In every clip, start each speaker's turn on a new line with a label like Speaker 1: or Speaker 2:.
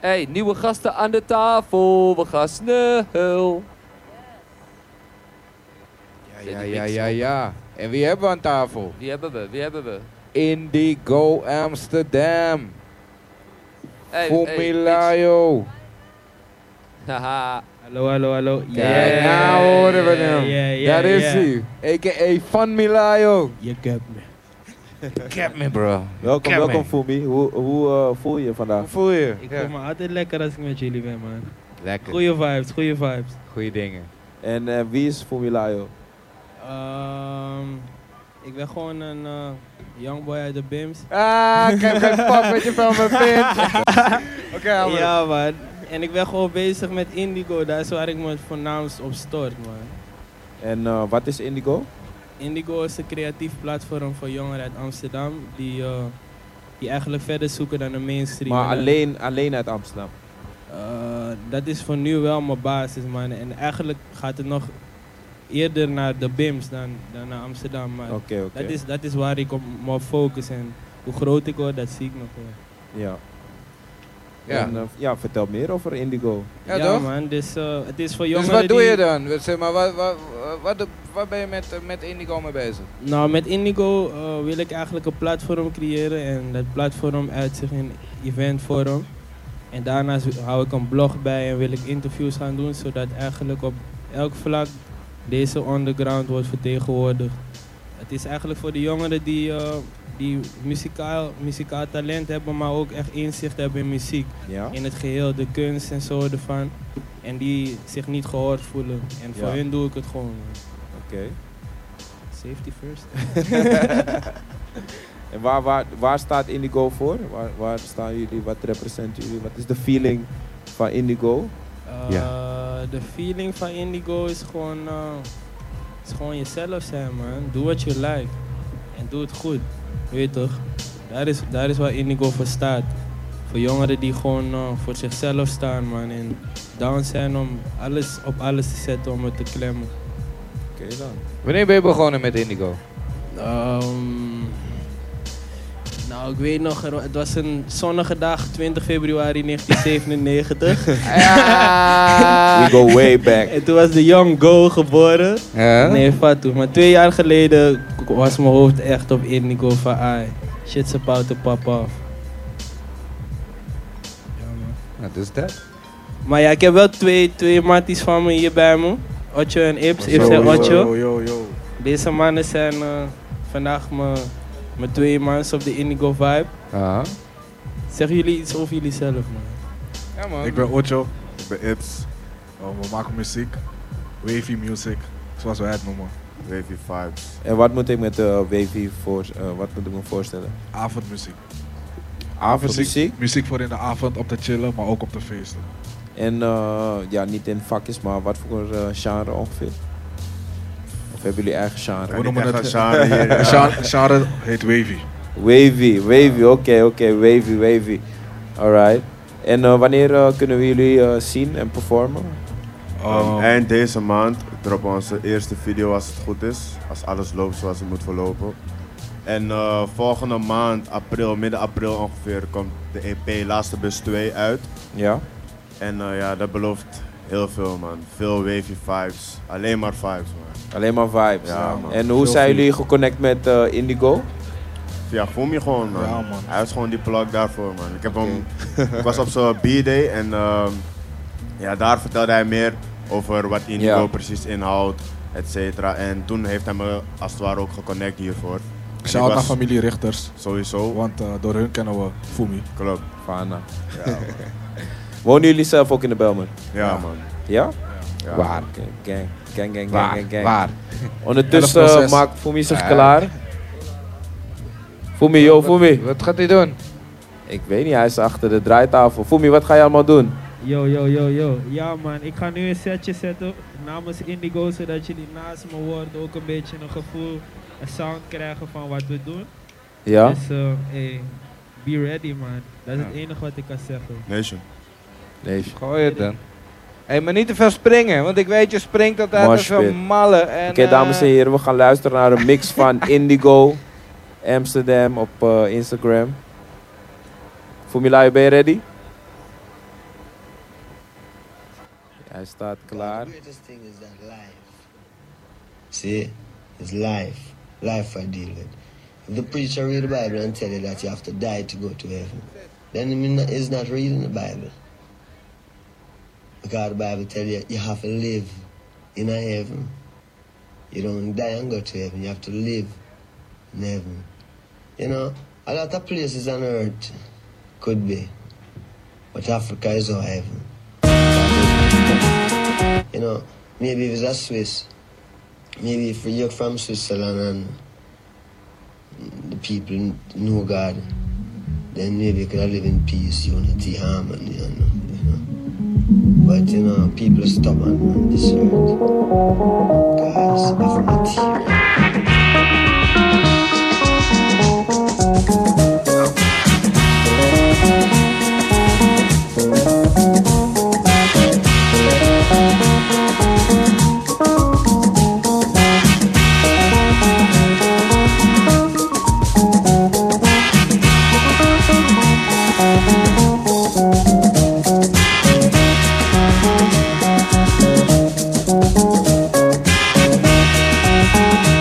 Speaker 1: Hey, nieuwe gasten aan de tafel. We gaan snel.
Speaker 2: Ja, ja, ja, ja, ja. En wie hebben we aan tafel?
Speaker 1: Wie hebben we? Wie hebben we?
Speaker 2: Indigo Amsterdam.
Speaker 1: Hey, Hey,
Speaker 2: Fumilayo.
Speaker 1: bitch. Haha.
Speaker 3: Hallo, hallo, hallo.
Speaker 2: Kijk,
Speaker 1: Yeah.
Speaker 2: nou horen we hem.
Speaker 3: Yeah, yeah,
Speaker 2: Daar is
Speaker 3: yeah.
Speaker 2: hij. A.k.a. Van Milayo.
Speaker 3: Je hebt me.
Speaker 2: Cap me, bro.
Speaker 4: Welkom,
Speaker 3: Ken
Speaker 4: welkom
Speaker 3: mij.
Speaker 4: Fumi. Hoe, hoe eh, voel je je
Speaker 2: Hoe
Speaker 4: vandaag?
Speaker 2: voel je?
Speaker 3: Ik
Speaker 2: Ja.
Speaker 3: voel me altijd lekker als ik met jullie ben, man.
Speaker 2: Lekker.
Speaker 3: Goeie vibes, goeie vibes.
Speaker 2: Goeie dingen.
Speaker 4: En eh, wie is Fumi Layo?
Speaker 3: Ehm, ik ben gewoon een eh, young boy uit de BIMS.
Speaker 2: Ah, ik heb geen pap met je van mijn pint. Oké, Albert.
Speaker 3: ja, man. En ik ben gewoon bezig met Indigo, daar is waar ik me voornaamst op stort, man.
Speaker 4: En eh, wat is Indigo?
Speaker 3: Indigo is een creatief platform voor jongeren uit Amsterdam die, eh, die eigenlijk verder zoeken dan de mainstream.
Speaker 4: Maar
Speaker 3: En,
Speaker 4: alleen, alleen uit Amsterdam.
Speaker 3: eh, dat is voor nu wel mijn basis, man. En eigenlijk gaat het nog eerder naar de BIMS dan, dan naar Amsterdam. Maar
Speaker 4: Oké, oké.
Speaker 3: dat, is, dat is waar ik op me focus. En hoe groot ik word, dat zie ik nog wel.
Speaker 4: Ja.
Speaker 2: Ja.
Speaker 4: En, eh, ja, vertel meer over Indigo.
Speaker 2: Ja, toch?
Speaker 3: man. Dus eh, het is voor
Speaker 2: Dus
Speaker 3: jongeren
Speaker 2: wat doe
Speaker 3: die-
Speaker 2: je dan? Zeg maar, wat, wat, wat, wat ben je met, eh, met Indigo mee bezig?
Speaker 3: Nou, met Indigo eh, wil ik eigenlijk een platform creëren en dat platform uit zich in eventvorm. En daarnaast hou ik een blog bij en wil ik interviews gaan doen, zodat eigenlijk op elk vlak deze underground wordt vertegenwoordigd. Het is eigenlijk voor de jongeren die, eh, die muzikaal, muzikaal talent hebben, maar ook echt inzicht hebben in muziek.
Speaker 4: Ja?
Speaker 3: In het geheel, de kunst en zo ervan. En die zich niet gehoord voelen. En voor
Speaker 4: Ja.
Speaker 3: hun doe ik het gewoon. man.
Speaker 4: Oké.
Speaker 3: Safety first.
Speaker 4: En waar, waar, waar staat Indigo voor? Waar, waar staan jullie? Wat representen jullie? Wat is de feeling van Indigo?
Speaker 3: Eh, De feeling van Indigo is gewoon, eh, is gewoon jezelf zijn, man. Doe wat je lijkt. En doe het goed. Weet je toch? Daar is, daar is waar Indigo voor staat. Voor jongeren die gewoon eh, voor zichzelf staan, man. En down zijn om alles op alles te zetten om het te klemmen.
Speaker 4: Oké dan.
Speaker 2: Wanneer ben je begonnen met Indigo?
Speaker 3: Ehm, nou, ik weet nog, er wa- het was een zonnige dag, 20 februari 1997.
Speaker 2: Ah.
Speaker 4: We go way back.
Speaker 3: en toen was de Young Go geboren.
Speaker 2: Ja?
Speaker 3: Nee, Fatou. Maar twee jaar geleden k- was mijn hoofd echt op Indigo van "Ah, ai. Shit's about to pop off. Ja, man.
Speaker 2: Wat is Nou, dat?
Speaker 3: Maar ja, ik heb wel twee, twee matties van me hier bij me. Otjo en Ips.
Speaker 5: Oh,
Speaker 3: Ips en Otjo. Deze mannen zijn eh, vandaag mijn mijn twee mans op de Indigo Vibe.
Speaker 2: Ja.
Speaker 3: Zeggen jullie iets over jullie zelf, man?
Speaker 2: Ja, man.
Speaker 5: Ik ben Ocho, ik ben Ips. Uh, we maken muziek, wavy music, zoals wij het noemen. Wavy vibes.
Speaker 4: En wat moet ik met de WV voor, eh, wat moet ik me voorstellen?
Speaker 5: Avondmuziek.
Speaker 4: Avondmuziek?
Speaker 5: Muziek voor in de avond, op de chillen, maar ook op de feesten.
Speaker 4: En eh, ja, niet in vakjes, maar wat voor eh, genre ongeveer? Of hebben jullie eigen genre?
Speaker 5: We noemen het Sharen. heet wavy.
Speaker 4: Wavy, wavy, oké, oké, wavy, wavy. Alright. En eh, wanneer eh, kunnen we jullie eh, zien en performen?
Speaker 5: Ehm,
Speaker 6: Eind deze maand droppen we onze eerste video als het goed is. Als alles loopt zoals het moet verlopen. En eh, volgende maand, april, midden april ongeveer, komt de E EP Laatste Bus 2 uit.
Speaker 4: Ja?
Speaker 6: En eh, ja, dat belooft heel veel man. Veel wavy vibes. Alleen maar vibes man.
Speaker 4: Alleen maar vibes.
Speaker 6: Ja, man.
Speaker 4: En hoe
Speaker 6: Veel
Speaker 4: zijn
Speaker 6: vibes.
Speaker 4: jullie geconnect met eh, Indigo?
Speaker 6: Via Fumi gewoon man.
Speaker 5: Ja, man.
Speaker 6: Hij is gewoon die plug daarvoor man. Ik, heb hem, ik was op zijn B-day en ehm, ja, daar vertelde hij meer over wat Indigo
Speaker 4: Ja.
Speaker 6: precies inhoudt, et cetera. En toen heeft hij me als het ware ook geconnect hiervoor. En ik
Speaker 5: Shout
Speaker 6: was
Speaker 5: naar familie Richters,
Speaker 6: Sowieso.
Speaker 5: want eh, door hun kennen we Fumi.
Speaker 6: Klopt.
Speaker 4: Fana.
Speaker 6: Ja, man.
Speaker 4: Wonen jullie zelf ook in de Belmer?
Speaker 6: Ja, man.
Speaker 4: Ja?
Speaker 6: Ja.
Speaker 4: Waar? Gang, gang, gang, gang, gang, gang.
Speaker 2: Waar?
Speaker 4: Ondertussen
Speaker 5: 11.06.
Speaker 4: eh, maakt Fumi zich
Speaker 2: Ja.
Speaker 4: klaar. Fumi, yo, Fumi.
Speaker 2: Wat gaat hij doen?
Speaker 4: Ik weet niet, hij is achter de draaitafel. Fumi, wat ga je allemaal doen?
Speaker 3: Yo, yo, yo, yo. Ja, man. Ik ga nu een setje zetten namens Indigo, zodat jullie naast me hoort ook een beetje een gevoel, een sound krijgen van wat we doen.
Speaker 4: Ja?
Speaker 3: Dus, hey, be ready, man. Dat is het enige wat ik kan zeggen.
Speaker 6: Nation.
Speaker 4: Nee.
Speaker 2: Gooi het dan. Hé, maar niet te veel springen, want ik weet je springt altijd als
Speaker 4: Moshpit.
Speaker 2: een malle. en,
Speaker 4: Oké, dames en
Speaker 2: eh,
Speaker 4: heren, we gaan luisteren naar een mix van Indigo Amsterdam op eh, Instagram. Fumilai, ben je ready? Hij staat
Speaker 7: The
Speaker 4: klaar.
Speaker 7: greatest thing is that life. See, it's life. Life I deal with. If the preacher read the Bible and tell you that you have to die to go to heaven, then he not- he's not reading the Bible. Because the Bible tell you you have to live in a heaven. You don't die and go to heaven. You have to live in heaven. You know, a lot of places on earth could be, but Africa is our heaven. You know, maybe if it's a Swiss, maybe if you're from Switzerland and the people know God, then maybe you could have live in peace, unity, harmony, and, you know. But, you know, people are stubborn on this earth. Guys, of material.
Speaker 8: Thank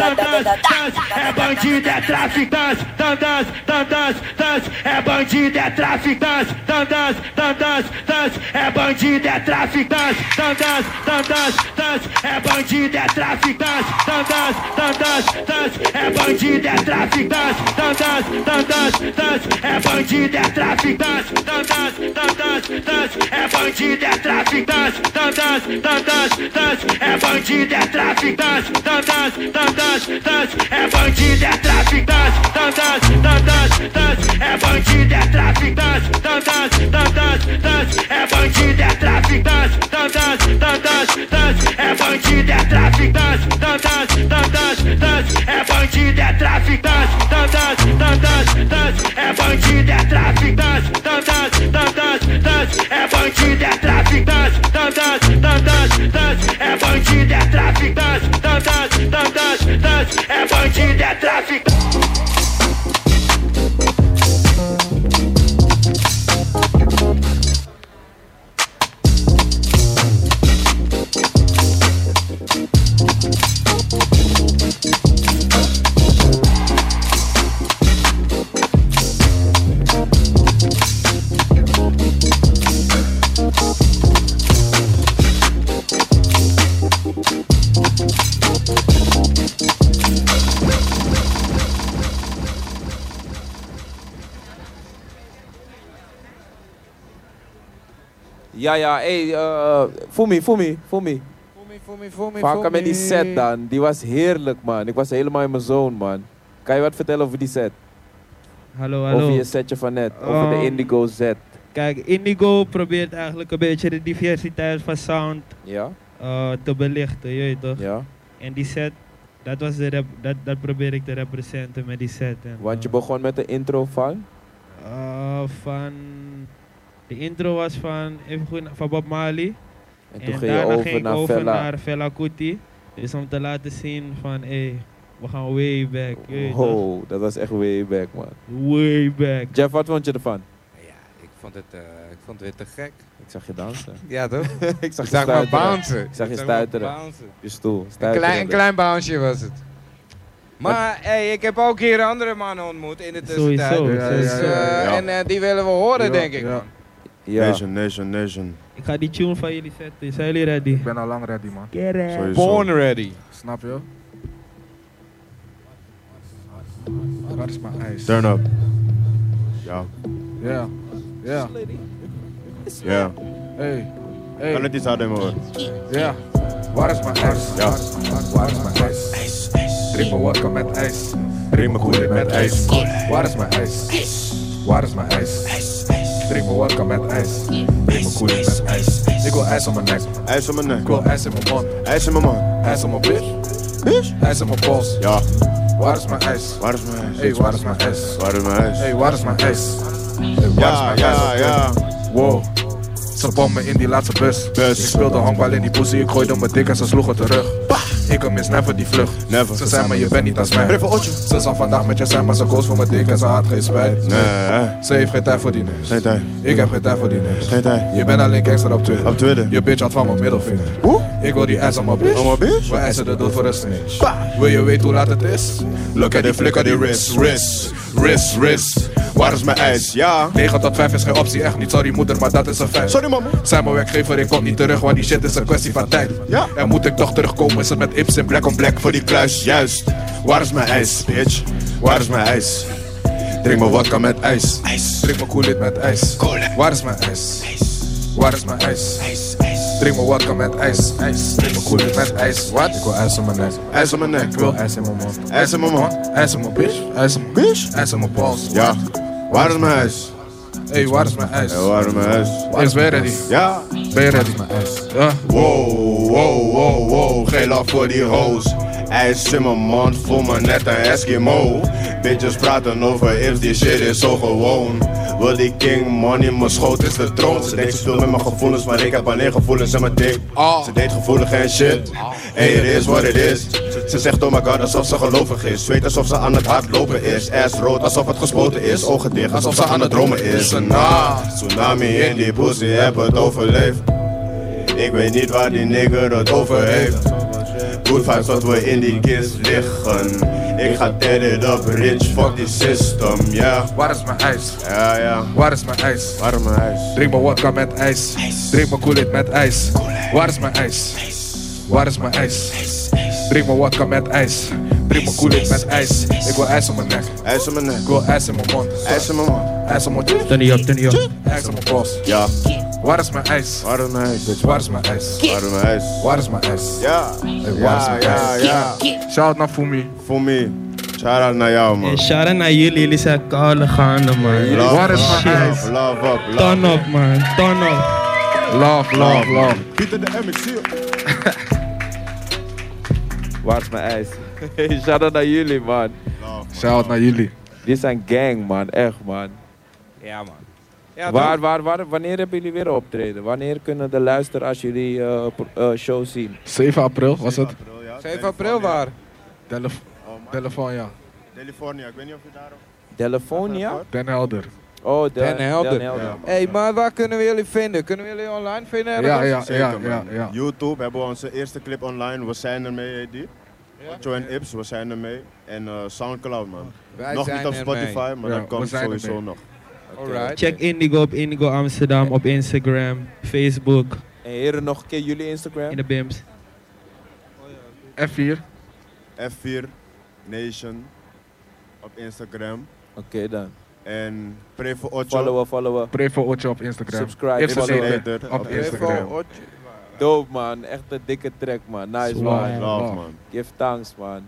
Speaker 8: É bandido, é traficante, tandas, tandas, tandas, é bandido, é traficante, tandas, tandas, tandas, é bandido, é traficante, tandas, tandas, tandas, é bandido, é traficante, tandas, tandas, tandas, é bandido, é traficante, tandas, tandas, tandas, é bandido, é traficante, tandas, tandas, tandas, é bandido, é traficante, tandas, tandas, tandas, é bandido, é traficante, tandas, tandas, tandas, é bandido, é traficante, tandas, tandas, tandas, é bandido, é traficante, tandas, tandas, tandas, é bandido, é traficante, tandas, tandas, tandas, é bandido, é traficante, tandas, tandas, tandas, é bandido, é traficante, tandas, tandas, tandas, é bandido, é traficante, tandas, tandas, tandas, é bandido, é traficante, tandas, tandas, tandas, é bandido, é traficante, tandas, tandas, tandas, é bandido, é traficante.
Speaker 4: Ja, ja, hey, eh Fumi, Fumi, Fumi. Vaker met die set dan. Die was heerlijk, man. Ik was helemaal in mijn zone, man. Kan je wat vertellen over die set?
Speaker 3: Hallo, hallo.
Speaker 4: Over je setje van net. Over de
Speaker 3: Ehm,
Speaker 4: Indigo set.
Speaker 3: Kijk, Indigo probeert eigenlijk een beetje de diversiteit van sound
Speaker 4: Ja?
Speaker 3: eh, te belichten, je weet toch?
Speaker 4: Ja?
Speaker 3: En die set, dat, was de rep- dat, dat probeer ik te representen met die set. En,
Speaker 4: Want je
Speaker 3: eh,
Speaker 4: begon met de intro van?
Speaker 3: eh, van, de intro was van, even goed, van Bob Marley.
Speaker 4: En toen ging je
Speaker 3: daarna
Speaker 4: over
Speaker 3: ging ik
Speaker 4: naar
Speaker 3: over
Speaker 4: Fella.
Speaker 3: naar Fela Kuti. Dus om te laten zien van, hé, hey, we gaan way back, je weet toch?
Speaker 4: Wow, dat was echt way back, man.
Speaker 3: Way back.
Speaker 4: Jeff, wat vond je ervan?
Speaker 9: Ja, ik vond het, eh, ik vond het weer te gek.
Speaker 4: Ik zag je dansen.
Speaker 9: Ja, toch?
Speaker 4: Ik zag
Speaker 9: Ik
Speaker 4: je
Speaker 9: zag maar
Speaker 4: stuiteren.
Speaker 9: bouncen.
Speaker 4: Ik zag je
Speaker 9: maar
Speaker 4: stuiteren.
Speaker 9: bouncen.
Speaker 4: Je stoel.
Speaker 9: Een
Speaker 4: stuiteren.
Speaker 9: klein, een klein bounceje was het.
Speaker 2: Maar hey, ik heb ook hier andere mannen ontmoet in de tussentijd.
Speaker 3: Sowieso.
Speaker 5: Ja, ja,
Speaker 3: sowieso.
Speaker 5: ja,
Speaker 2: Dus, eh,
Speaker 5: ja.
Speaker 2: En eh, die willen we horen,
Speaker 5: Ja,
Speaker 2: denk ik.
Speaker 5: ja.
Speaker 2: man.
Speaker 4: Ja.
Speaker 6: Nation, nation, nation.
Speaker 3: Ik ga die tune van jullie zetten. Zijn jullie ready?
Speaker 5: Ik ben al lang ready, man.
Speaker 6: Sowieso.
Speaker 4: Born ready.
Speaker 5: Snap je? Waar is mijn ijs?
Speaker 6: Turn up. Ja,
Speaker 5: Ja. Ja.
Speaker 6: ja.
Speaker 5: Hey.
Speaker 6: Kan
Speaker 5: Hey.
Speaker 6: het iets harder hoor?
Speaker 5: Ja. Waar is mijn ijs?
Speaker 6: Ja.
Speaker 5: Waar is mijn ijs? Drink mijn wodka met ijs.
Speaker 6: Riemen goed met ijs.
Speaker 5: Waar is mijn ijs? Waar is mijn ijs? Drink mijn wodka met ijs. Drink mijn koeling met ijs. Ik wil ijs op mijn nek.
Speaker 6: IJs om mijn
Speaker 5: Ik
Speaker 6: nek.
Speaker 5: wil ijs in mijn mond.
Speaker 6: IJs om mijn man.
Speaker 5: Ijs op mijn bitch. Ijs op mijn pols.
Speaker 6: Ja.
Speaker 5: Waar is mijn ijs?
Speaker 6: Waar is mijn
Speaker 5: Hey,
Speaker 6: ijs?
Speaker 5: waar is mijn ijs?
Speaker 6: Waar is mijn
Speaker 5: Hey,
Speaker 6: ijs?
Speaker 5: waar is mijn ijs? Hey, waar is
Speaker 6: Ja,
Speaker 5: mijn
Speaker 6: ja,
Speaker 5: ijs?
Speaker 6: ja.
Speaker 5: Wow. Ze bommen in die laatste bus.
Speaker 6: Bus.
Speaker 5: Ik speelde honkbal in die pussy, ik gooide mijn dik en ze sloegen terug. Ik hem is never die vlucht.
Speaker 6: Never.
Speaker 5: Ze zei maar je bent niet als mij.
Speaker 6: Riffel Otje.
Speaker 5: Ze zal vandaag met je zijn, maar ze koos voor mijn dik en ze had geen spijt.
Speaker 6: Nee, hè?
Speaker 5: Ze heeft geen tijd voor die neus.
Speaker 6: Geen tijd.
Speaker 5: Ik heb geen tijd voor die neus.
Speaker 6: Geen tijd.
Speaker 5: Je bent alleen gangster op Twitter.
Speaker 6: Op Twitter.
Speaker 5: Je bitch had van mijn middelvinger.
Speaker 6: Hoe?
Speaker 5: Ik wil die ass op mijn bitch.
Speaker 6: Op mijn bitch?
Speaker 5: We eisen de dood voor een snitch. Wil je weten hoe laat het is? Look at die flikker die wrist, wrist, wrist, wrist.
Speaker 6: Waar is mijn ijs? Ja.
Speaker 5: 9 tot 5 is geen optie, echt niet. Sorry moeder, maar dat is een feit.
Speaker 6: Sorry mama.
Speaker 5: Zijn mijn werkgever, ik kom niet terug, want die shit is een kwestie van tijd.
Speaker 6: Ja.
Speaker 5: En moet ik toch terugkomen, is het met Ips in black
Speaker 6: Plek om plek voor die kluis, juist. Waar is mijn ijs, bitch? Waar is mijn ijs? Drink mijn wodka met ijs.
Speaker 5: Drink mijn koelit met ijs. Waar is mijn ijs? Waar is mijn ijs? Drink mijn water met ijs. ijs. Drink mijn koelie met ijs. Wat? Ik wil ijs in mijn nek.
Speaker 6: IJs op mijn nek.
Speaker 5: Ik wil ijs in mijn mond.
Speaker 6: IJs in mijn mond.
Speaker 5: Ijs in mijn bitch. Ijs in mijn bitch. Ijs in mijn pols.
Speaker 6: Ja. Waar is mijn huis?
Speaker 5: Hey, waar is mijn ijs?
Speaker 6: Ja, Eh, waar is mijn huis?
Speaker 5: Is ben je ready?
Speaker 6: Ja.
Speaker 5: Ben je ready? Mijn ijs. Ja.
Speaker 6: Wow, wow, wow, wow, geen laf voor die hoes. IJs in mijn mond, voel me net een Eskimo. Bitches praten over ifs, die shit is zo gewoon. Wil die king money, mijn schoot is de troon. Ze denkt ze speelt met mijn gevoelens, maar ik heb alleen gevoelens in mijn dik. Ze deed gevoelig en shit. En it is what it is. Ze zegt oh my god alsof ze gelovig is. Zweet alsof ze aan het hardlopen is. Ass rood alsof het gespoten is. Ogen dicht alsof ze aan het dromen is. Een ah, tsunami in die pussy, heb het overleefd. Ik weet niet waar die nigger het over heeft. Good vibes dat we in die kist liggen. Ik ga tear it up, rich, fuck die system, ja.
Speaker 5: Waar is mijn ijs?
Speaker 6: Ja, ja.
Speaker 5: Waar is mijn ijs?
Speaker 6: Warm huis.
Speaker 5: Drink mijn wodka met ijs. Drink mijn koelit met ijs. Waar is mijn ijs? Waar is mijn ijs? Drink mijn wodka met ijs. Drink mijn koelit met ijs. Ik wil ijs op mijn nek.
Speaker 6: IJs om mijn nek.
Speaker 5: Ik wil ijs in mijn mond.
Speaker 6: IJs om mijn mond.
Speaker 5: Ijs op mijn tjus.
Speaker 3: Turn it up, turn it up.
Speaker 5: Ijs op mijn pols.
Speaker 6: Ja.
Speaker 5: Waar is mijn ijs?
Speaker 6: Warm huis.
Speaker 5: Bitch, waar is mijn ijs?
Speaker 6: Warm huis.
Speaker 5: Waar is mijn ijs?
Speaker 6: Ja.
Speaker 5: waar is
Speaker 6: Ja,
Speaker 5: mijn
Speaker 6: ja, ja.
Speaker 5: Shout naar Fumi.
Speaker 6: Voor me. Shout out naar jou,
Speaker 3: En
Speaker 6: man.
Speaker 3: shout out naar jullie, jullie zijn koude gaande man.
Speaker 6: Love
Speaker 5: Waar is
Speaker 6: up,
Speaker 5: mijn
Speaker 6: love
Speaker 5: ijs?
Speaker 6: up, Love up,
Speaker 3: Ton
Speaker 6: love
Speaker 3: op man, ton op.
Speaker 5: Love, love, love.
Speaker 6: Pieter de MC.
Speaker 4: Waar is mijn ijs? Shout-out naar jullie, man.
Speaker 5: Shout naar jullie.
Speaker 4: Dit zijn gang, man. Echt, man.
Speaker 2: Ja, man.
Speaker 4: waar, waar, waar, wanneer hebben jullie weer een optreden? Wanneer kunnen de luisteraars jullie eh, pro- eh, show zien?
Speaker 5: 7 april was het?
Speaker 2: 7 april waar?
Speaker 5: Telef- Telefoon, ja.
Speaker 6: Oh, California, ik weet niet of je daarop...
Speaker 4: Telefonia?
Speaker 5: Den Helder.
Speaker 4: Oh, de,
Speaker 2: Den Helder.
Speaker 4: Den
Speaker 6: Ja.
Speaker 2: Hé, hey, maar waar kunnen we jullie vinden? Kunnen we jullie online vinden? ergens?
Speaker 5: Ja, ja, ja,
Speaker 6: Zeker,
Speaker 5: ja,
Speaker 6: man.
Speaker 5: ja.
Speaker 6: YouTube hebben we onze eerste clip online. We zijn ermee, AD. Joe en Ips, we zijn ermee. En eh, Soundcloud, man.
Speaker 2: Wij
Speaker 6: nog
Speaker 2: zijn
Speaker 6: niet op
Speaker 2: ermee.
Speaker 6: Spotify, maar
Speaker 5: Ja,
Speaker 6: dat
Speaker 5: we
Speaker 6: komt
Speaker 5: zijn
Speaker 6: sowieso
Speaker 5: ermee.
Speaker 6: nog.
Speaker 2: Alright.
Speaker 3: Check Indigo op Indigo Amsterdam, op Instagram, Facebook,
Speaker 4: En heren, nog een keer jullie Instagram?
Speaker 3: in de BIMS.
Speaker 5: F4.
Speaker 6: F4 Nation op Instagram.
Speaker 4: Oké, dan.
Speaker 6: En Pray for Ocho.
Speaker 4: Followen, followen.
Speaker 5: Pray voor Otje op Instagram.
Speaker 4: Subscribe,
Speaker 5: If ze
Speaker 4: follow.
Speaker 5: zeker.
Speaker 6: Later
Speaker 5: Op Instagram.
Speaker 4: Dope, man. Echt een dikke track, man. Nice,
Speaker 5: Zwaar.
Speaker 4: man.
Speaker 6: Love, man.
Speaker 4: Give thanks, man.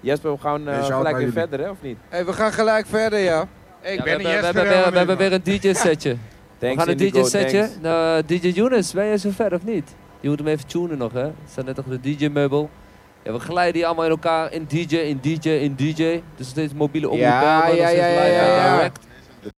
Speaker 4: Jesper, we gaan eh,
Speaker 5: Hey, shout out
Speaker 4: gelijk
Speaker 5: naar
Speaker 4: weer
Speaker 5: jullie.
Speaker 4: verder, hè, of niet?
Speaker 2: Hey, we gaan gelijk verder, ja. Ik
Speaker 1: we, hebben- we hebben weer, we hebben weer een DJ-setje. we gaan een
Speaker 4: Indigo,
Speaker 1: DJ-setje.
Speaker 4: thanks.
Speaker 1: Nou, DJ Younes, ben je zover of niet? Je moet hem even tunen nog, hè? Het staat net achter de DJ-meubel. Ja, we glijden die allemaal in elkaar in DJ, in DJ, in DJ. Dus steeds mobiele omroep
Speaker 2: Ja,
Speaker 1: bellen,
Speaker 2: ja,
Speaker 1: dan
Speaker 2: ja,
Speaker 1: steeds
Speaker 2: ja,
Speaker 1: live en
Speaker 2: ja, ja.
Speaker 1: direct.